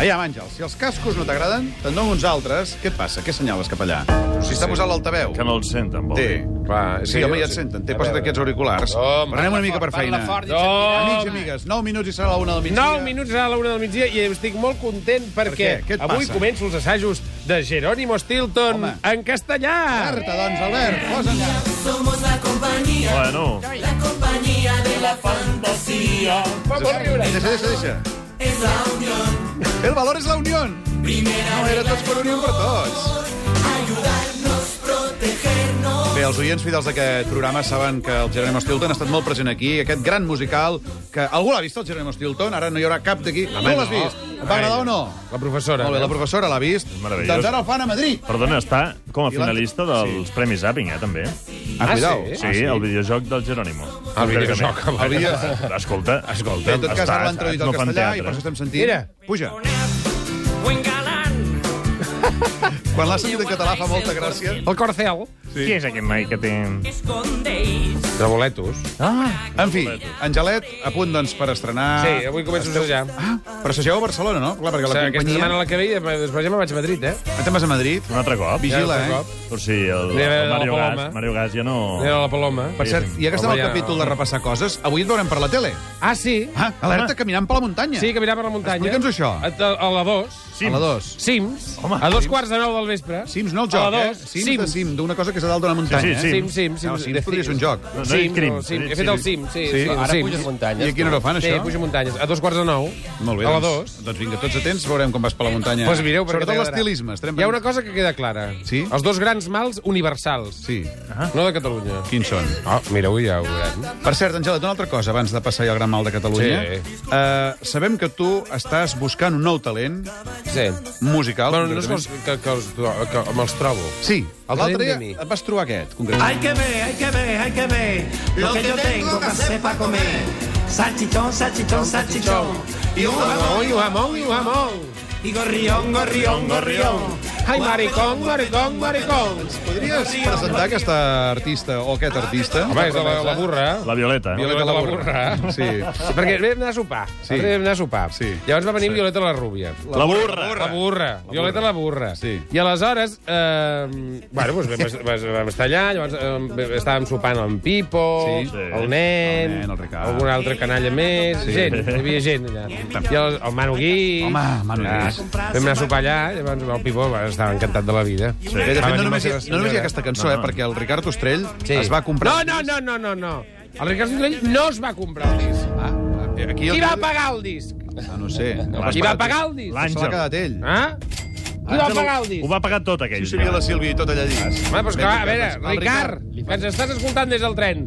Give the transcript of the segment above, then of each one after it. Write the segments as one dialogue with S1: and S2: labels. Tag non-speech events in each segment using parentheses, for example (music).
S1: Àngel, si els cascos no t'agraden, te'n dono uns altres. Què et passa? Què assenyales cap allà? Si està posant l'altaveu.
S2: Que no el senten, vol
S1: Té.
S2: dir.
S3: Clar,
S1: Sí, home, ja et senten. T'he posat aquests auriculars.
S3: Home,
S1: Però anem una mica per
S4: parla
S1: feina.
S4: fort,
S1: Amics i
S3: Doncs...
S1: amigues, 9 minuts i serà la 1 del migdia.
S3: 9 minuts a la una del migdia i estic molt content perquè
S1: què? Què et
S3: avui
S1: passa?
S3: començo els assajos de Jerónimo Stilton
S1: Home.
S3: en castellà.
S1: Carta, doncs, Albert, posa'n...
S5: Somos la compañía,
S2: Bueno,
S5: la compañía de la fantasía.
S3: Va, vol riure.
S1: Deixa, deixa, deixa.
S5: Es la unión,
S1: El valor és la unió.
S5: primera
S1: No, era tots per unió per tots.
S5: ayudarnos, protegernos.
S1: Bé, els oients fidels d'aquest programa saben que el Jerónimo Stilton ha estat molt present aquí, aquest gran musical, que algú l'ha vist, el Jerónimo Stilton? Ara no hi haurà cap d'aquí. Tu
S3: no.
S1: l'has vist? Et va agradar o no?
S3: La professora. eh?
S1: Molt bé, la professora l'ha vist.
S2: meravellós.
S1: Doncs ara el fan a Madrid.
S2: perdona, està com a
S1: I l'han-
S2: finalista dels Premis Zapping, eh, també.
S1: Ah, cuidao.
S3: sí?
S2: Sí, el videojoc del Jerónimo.
S3: El videojoc,
S2: Concretament.
S3: el
S1: video-
S2: Escolta,
S1: Bé,
S2: escolta.
S1: en tot cas, ara l'han traduït al castellà i per això estem sentint...
S3: Mira.
S1: Puja.
S5: Buen galán.
S1: Quan l'ha sentit en català fa molta gràcia.
S3: El Corcel.
S2: Sí. Qui és aquest noi que té...
S5: Escondéis.
S3: De boletos.
S2: Ah,
S1: En fi, Angelet, a punt, doncs, per estrenar...
S3: Sí, avui començo a assajar.
S1: Ah, però assageu a Barcelona, no? Clar, perquè
S3: O
S1: la
S3: sigui, aquesta
S1: companyia...
S3: setmana la que ve, i després ja me'n vaig a Madrid, eh?
S1: Anem a Madrid.
S2: un altre cop?
S1: Vigila, eh?
S3: Ja, un altre cop.
S2: O sigui, el,
S3: Anirem
S2: el
S3: a veure la
S2: Mario
S3: Paloma.
S2: Gas, Mario Gas ja no...
S3: Era la Paloma.
S1: Per cert, i ja que estem
S3: Home,
S1: al
S3: ja-
S1: capítol de repassar coses, avui et veurem per la tele.
S3: Ah, sí?
S1: Ah, alerta, caminant per la muntanya.
S3: Sí, caminar per la muntanya.
S1: Explica'ns això.
S3: A, a, a la 2.
S2: Sí.
S1: A la 2.
S3: Sims.
S2: Home,
S3: a dos
S2: Sims.
S3: quarts de nou del vespre.
S1: Sims, no el joc,
S3: a la
S1: eh?
S3: dos,
S1: Sims,
S3: Sims.
S1: de Sim, d'una cosa que és a dalt d'una muntanya.
S2: Sí,
S1: eh?
S2: sí,
S3: Sims, Sims,
S1: No,
S3: Sims.
S1: Sims podria ser un joc.
S2: No, no
S3: Sims,
S2: és crim.
S3: no,
S2: Sí,
S3: Sims. He fet el
S2: sí.
S3: Sim, sí.
S1: eh, Sí,
S3: sí,
S1: ara
S3: Sims.
S4: puges muntanyes.
S1: I a quina hora ho fan,
S3: Sí,
S1: això?
S3: puja muntanyes. A dos quarts de nou.
S1: Molt bé,
S3: A la
S1: doncs,
S3: dos.
S1: doncs vinga, tots atents, veurem com vas per la muntanya.
S3: Doncs mireu, perquè
S1: Sobretot
S3: t'agradarà.
S1: l'estilisme. Estarem
S3: Hi ha una cosa que queda clara.
S1: Sí? Ah.
S3: Els dos grans mals universals.
S1: Sí,
S3: No de Catalunya.
S1: quins són?
S3: Oh, mireu, ja ho veurem.
S1: Per cert, Angela, una altra cosa, abans de passar ja al Gran Mal de Catalunya.
S3: Sí.
S1: Eh, sabem que tu estàs buscant un nou talent
S3: Sí.
S1: musical.
S3: Bueno, no és que,
S1: concretament.
S3: els, que, que, els, que me'ls trobo.
S1: Sí,
S3: El talent
S1: l'altre
S3: de mi.
S1: dia et vas trobar aquest, concretament.
S6: Hay que ver, hay que ver, hay que ver lo que yo tengo que hacer para comer. Salchichón, salchichón, salchichón. Y un jamón,
S3: Amón, amón, amón.
S6: y gorrión, gorrión, gorrión.
S3: Ai, maricón, maricón, maricón.
S1: Podries presentar aquesta artista o aquest artista?
S3: Home, és de la, la burra.
S2: La Violeta.
S3: Violeta la burra. (laughs)
S1: Sí.
S3: Sí, perquè vam anar a sopar.
S1: Sí.
S3: Sí. Vam anar a sopar.
S1: Sí.
S3: Llavors va venir sí. Violeta la rúbia.
S2: La burra.
S3: La burra. Violeta la burra.
S1: Sí.
S3: I aleshores, eh, bueno, doncs vam, vam, vam estar allà, llavors eh, estàvem sopant amb Pipo,
S1: Sí.
S3: sí. el nen,
S1: El nen, el Ricard.
S3: algun altre canalla més, sí. gent, hi havia gent allà. I el, el Manu Guix.
S1: Home, Manu Guix.
S3: Ah, Vam anar a sopar allà, llavors el Pipo va, estava encantat de la vida. Sí.
S1: Bé, de fet, no només, hi, no només hi ha aquesta cançó, eh, perquè el Ricard Ostrell
S3: Sí.
S1: es va comprar...
S3: No, no, no, no, no, no. El Ricard Sotrell no es va comprar el disc.
S1: Ah, aquí
S3: Qui va pagar el disc?
S1: Ah, no ho sé.
S3: Qui va pagar el disc?
S1: Se l'ha quedat ell.
S3: Ah? Qui va pagar el disc?
S2: Ho va pagar tot, aquell.
S1: Sí, seria la Sílvia i tot allà dins.
S3: Home, però és clar, a veure, Ricard, que ens estàs escoltant des del tren,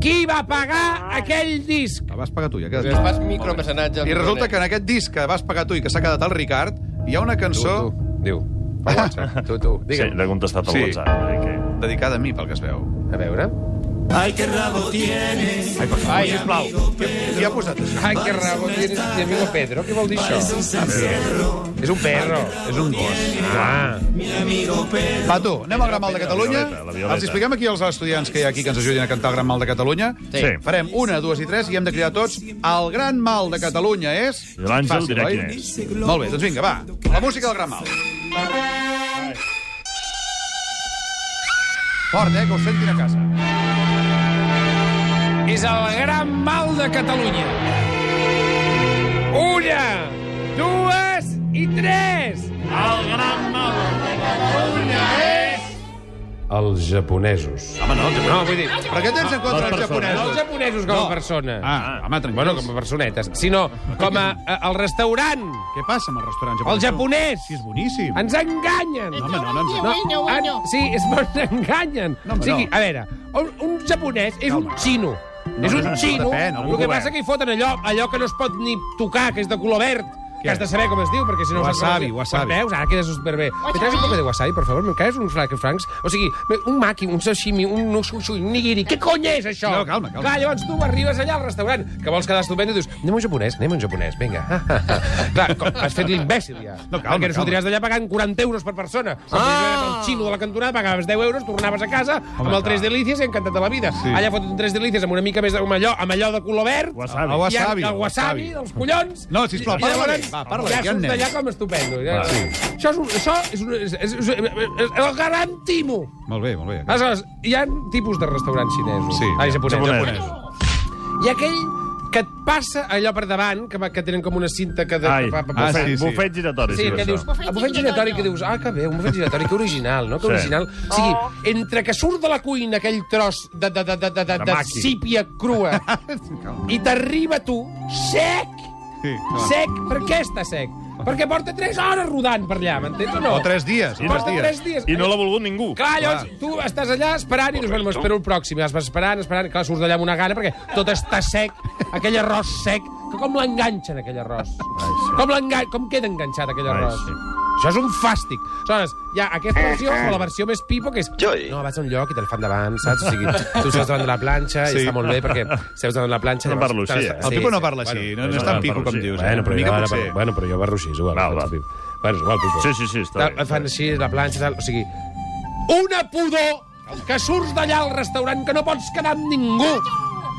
S3: qui va pagar aquell disc?
S1: El vas pagar tu, ja ha
S3: Doncs
S4: Es
S1: quedat.
S4: fas micromecenatge.
S1: I resulta que en aquest disc que vas pagar tu i que s'ha quedat el Ricard, hi ha una cançó
S3: diu. Pel WhatsApp.
S1: (laughs)
S3: Tu, tu,
S2: Sí,
S3: digue'm.
S2: l'ha contestat al
S1: Sí.
S2: WhatsApp. eh, que-
S1: dedicada a mi, pel que es veu.
S3: A veure.
S6: Ay, qué rabo tienes.
S2: Ai, sisplau.
S1: Qui ha posat això?
S3: Ai, que rabo tienes mi amigo Pedro. Què vol dir això? És un perro.
S1: És un gos.
S3: Ah.
S1: Va, tu, anem al Gran Mal de Catalunya.
S2: La Violeta, la Violeta.
S1: Els expliquem aquí als estudiants que hi ha aquí que ens ajudin a cantar el Gran Mal de Catalunya.
S2: Sí.
S1: Farem una, dues i tres i hem de cridar tots. El Gran Mal de Catalunya és...
S2: I l'Àngel
S1: Fàcil,
S2: dirà
S1: oi?
S2: quin és.
S1: Molt bé, doncs vinga, va. La música del Gran Mal. Fort, eh, que us sentin a casa.
S3: És el gran mal de Catalunya. Una, dues i tres.
S7: Els japonesos.
S2: Home, no, té-
S3: No, vull dir,
S1: Però què tens en
S2: Ah,
S1: contra
S2: les
S1: dels
S2: persones.
S3: no
S1: japonesos?
S3: els japonesos com a persona.
S1: Ah, home, tranquils.
S3: Bueno, com a personetes, sinó com a, a, al restaurant,
S1: Què passa amb el restaurant japonès?
S3: al japonès.
S1: Sí, és boníssim.
S3: Ens enganyen.
S1: No, home, no, no, ens...
S3: No, en, sí, és molt enganyen.
S1: No,
S3: No,
S1: home,
S3: o sigui,
S1: no.
S3: a veure, un, un japonès és un
S1: Calma.
S3: xino.
S1: No,
S3: és un
S1: no, no,
S3: xino.
S1: depèn, algun
S3: el que
S1: govern.
S3: passa que hi foten allò, allò que no es pot ni tocar, que és de color verd, que has de saber com es diu, perquè si no... ho saps com
S1: Wasabi,
S3: es diu.
S1: wasabi.
S3: Veus? Ara queda superbé. Me traus un poc de wasabi, per favor? Me traus uns francs? O sigui, un maqui, un sashimi, un nushu, un nigiri... Què cony és això?
S1: No, calma, calma.
S3: Clar, llavors tu arribes allà al restaurant, que vols quedar estupendo, i dius, anem a un japonès, anem a un japonès, vinga. (laughs) Clar, com, has fet l'imbècil ja.
S1: No, calma,
S3: Perquè no
S1: calma.
S3: sortiràs d'allà pagant 40 euros per persona. Com ah! si anaves al xino de la cantonada, pagaves 10 euros, tornaves a casa Home, amb
S1: clar.
S3: el tres delícies i encantat de la vida.
S1: Sí.
S3: Sí. Allà foten un tres delícies amb una mica més de, amb allò, amb allò de color verd.
S1: El
S2: Wasabi.
S3: i amb
S1: wasabi.
S3: El wasabi, dels collons.
S1: No, sisplau,
S3: I
S1: para la
S3: llavors,
S1: nit. Va, parla,
S3: ja
S1: que hi ha
S3: surts
S1: nens.
S3: d'allà com estupendo. Ja.
S2: Va.
S3: Sí. Això és un... Això és un... És, és, és, és, el gran timo.
S1: Molt bé, molt bé.
S3: Aleshores, hi ha tipus de restaurants xinesos.
S1: Sí,
S3: Ai,
S1: ja.
S3: japonesos.
S2: Japonesos.
S3: Hi ha aquell que et passa allò per davant, que, va- que tenen com una cinta que... De,
S2: Ai,
S3: pa-
S1: ah,
S3: pa- pa-
S2: bufet,
S1: sí, sí.
S2: bufet giratori.
S3: Sí,
S2: per
S3: que
S2: això.
S3: dius,
S4: Bufet
S3: el bufet giratori
S4: giratori,
S3: que dius, ah, que bé, un bufet giratori, que original, no? Que
S2: Sí.
S3: original. O sigui,
S4: Oh.
S3: entre que surt de la cuina aquell tros de, de, de, de, de, de, de
S2: maqui.
S3: sípia crua i t'arriba a tu sec,
S1: Sí, clar.
S3: sec. Per què està sec? Perquè porta 3 hores rodant per allà, m'entens o no?
S1: O tres dies, o
S2: I
S1: tres
S3: Porta
S2: no-
S1: dies.
S3: 3 dies.
S2: I no l'ha volgut ningú.
S3: Clar, llavors, tu estàs allà esperant i dius, bueno, m'espero el pròxim. I vas esperant, esperant, clar, surts d'allà amb una gana perquè tot està sec, aquell arròs sec, que com l'enganxen, aquell arròs? Com, l'engan- com queda enganxat aquell
S2: Ai,
S3: arròs?
S2: sí.
S3: Això és un fàstic. Aleshores, hi ha aquesta versió, però la versió més pipo, que és... No, vas a un lloc i te la fan davant, saps? O sigui, tu seus davant de la planxa
S1: Sí.
S3: i està molt bé perquè seus davant de la planxa...
S2: No
S3: llavors
S2: parlo
S3: te la-
S2: així, eh?
S1: El
S3: Sí,
S1: Pipo no
S3: sí.
S1: parla
S3: Bueno,
S1: així, no, no
S2: no,
S1: és tan
S2: no,
S1: pico
S2: parlo
S1: com
S2: així.
S1: dius. eh?
S3: Bueno, però
S1: Una
S3: jo
S1: mica
S3: ara...
S1: potser.
S3: Bueno, però jo barro així, és igual.
S2: Val, val.
S3: Bueno, és igual, Pipo.
S2: Sí, sí, sí, està
S3: Tal,
S2: bé.
S3: et fan així, la planxa, tal, o sigui... Una pudor que surts d'allà al restaurant que no pots quedar amb ningú.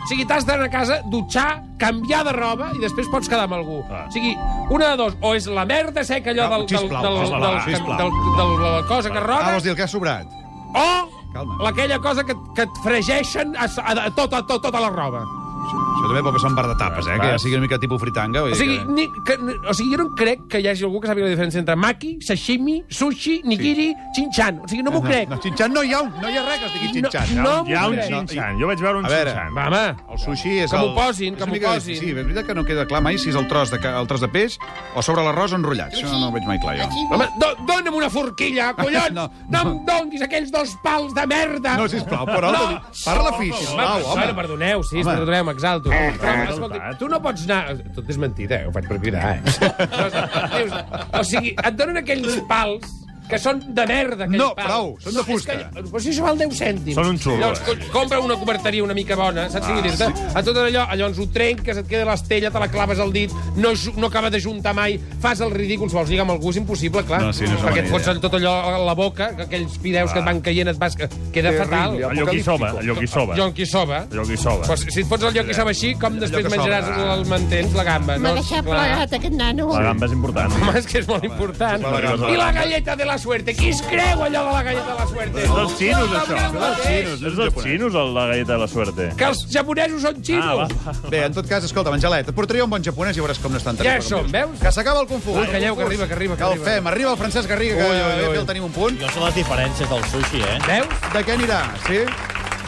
S3: O sigui, t'has d'anar a casa, dutxar, canviar de roba i després pots quedar amb algú.
S2: Ah.
S3: O sigui, una de dos, o és la merda seca
S1: Cal-
S3: allò del, del,
S1: sisplau,
S3: del,
S1: sisplau,
S3: del,
S1: sisplau.
S3: del, del, de la cosa que
S1: Ah,
S3: roda,
S1: vols dir el que ha sobrat?
S3: o
S1: Calma.
S3: aquella cosa que, que et fregeixen a, a, a, tota, tota, tota la roba.
S1: Això també pot passar un bar de tapes, eh? Que ja sigui una mica tipus fritanga.
S3: O sigui, ni, que, ni- o sigui, jo no crec que hi hagi algú que sàpiga la diferència entre maki, sashimi, sushi, nigiri, chin-chan. O sigui, no m'ho crec.
S1: No, xinxan no hi ha, un, no hi ha res que es digui xinxan.
S3: No,
S2: Hi ha un
S3: no,
S2: xinxan. Jo vaig veure un
S1: A veure.
S2: xinxan.
S3: Va, home.
S1: El sushi és
S3: Que
S1: el...
S3: m'ho posin, que
S1: és una
S3: m'ho
S1: mica-
S3: posin.
S1: Sí, és veritat que no queda clar mai si és el tros de, ca- el tros de peix o sobre l'arròs enrotllat. Això no ho veig mai clar, jo.
S3: Home, do, dona'm una forquilla, collons! no,
S1: (laughs) No,
S3: no.
S1: no.
S3: em donguis aquells dos pals de merda!
S1: No, sisplau, però...
S3: No.
S1: No. Parla fi, sisplau, home.
S3: Bueno, perdoneu, sí,
S1: Home.
S3: perdoneu, m'exalto. Però,
S2: eh,
S3: escolti,
S2: eh.
S3: tu no pots anar... Tot és mentida, eh? Ho faig per cridar, eh? Dius,
S1: (laughs)
S3: o sigui, et donen aquells pals que són de merda, aquells
S1: No,
S3: pals.
S1: prou, són de
S3: No, és que-
S1: fusta.
S3: Però si això val 10 cèntims.
S2: Són un xurro,
S3: Llavors,
S2: eh?
S3: co- compra una coberteria una mica bona, saps? Ah, sí. A tot allò, allò ens ho trenques, et queda l'estella, te la claves al dit, no, ju- no acaba de juntar mai, fas el ridícul, si vols lligar amb algú és impossible, clar.
S1: No, sí, no és una
S3: perquè
S1: bona
S3: et fots
S1: idea.
S3: en tot allò a la boca, que aquells fideus que et van caient et vas... Queda fatal.
S2: Allò que hi soba, allò que hi soba.
S3: Jo en qui soba.
S2: Allò que hi soba.
S3: Però si et fots el lloc que sap així, com després
S1: que
S3: menjaràs
S1: sobra.
S3: el, el mantens, la gamba?
S4: M'ha
S3: no?
S4: deixat
S3: Clar.
S4: plegat, aquest nano.
S2: La gamba és important.
S3: Home, és que és molt important.
S1: la gamba.
S3: I la galleta de la suerte. Qui es creu allò de la galleta de la suerte?
S2: És dels xinos, això.
S3: És dels xinos.
S2: És dels xinos, el- la galleta de la suerte.
S3: Que els japonesos són
S2: Ah,
S3: xinos.
S2: va.
S1: Bé, en tot cas, escolta, Angelet, et portaria un bon japonès i veuràs com no estan tan
S3: Ja
S1: bé com
S3: som,
S1: dius.
S3: veus?
S1: Que s'acaba el confús.
S3: Ui, calleu, que arriba, que arriba, que
S1: Que el
S3: arriba.
S1: fem. Arriba el Francesc Garriga, que
S3: Ui, ui,
S1: bé
S3: ui.
S1: que el tenim un punt.
S7: Jo sé les diferències del sushi, eh?
S3: Veus?
S1: De què anirà, sí?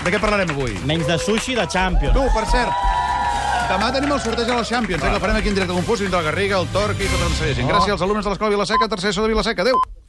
S1: De què parlarem avui?
S7: Menys de sushi, de Champions.
S1: Tu, per cert, demà tenim el sorteig de les tota
S3: Oh.
S1: Champions, eh, que el farem aquí en directe a Confús, dintre la Garriga, el Torqui i tot un seguit. Gràcies als alumnes de l'Escola Vilaseca, tercer ESO de Vilaseca. Adéu!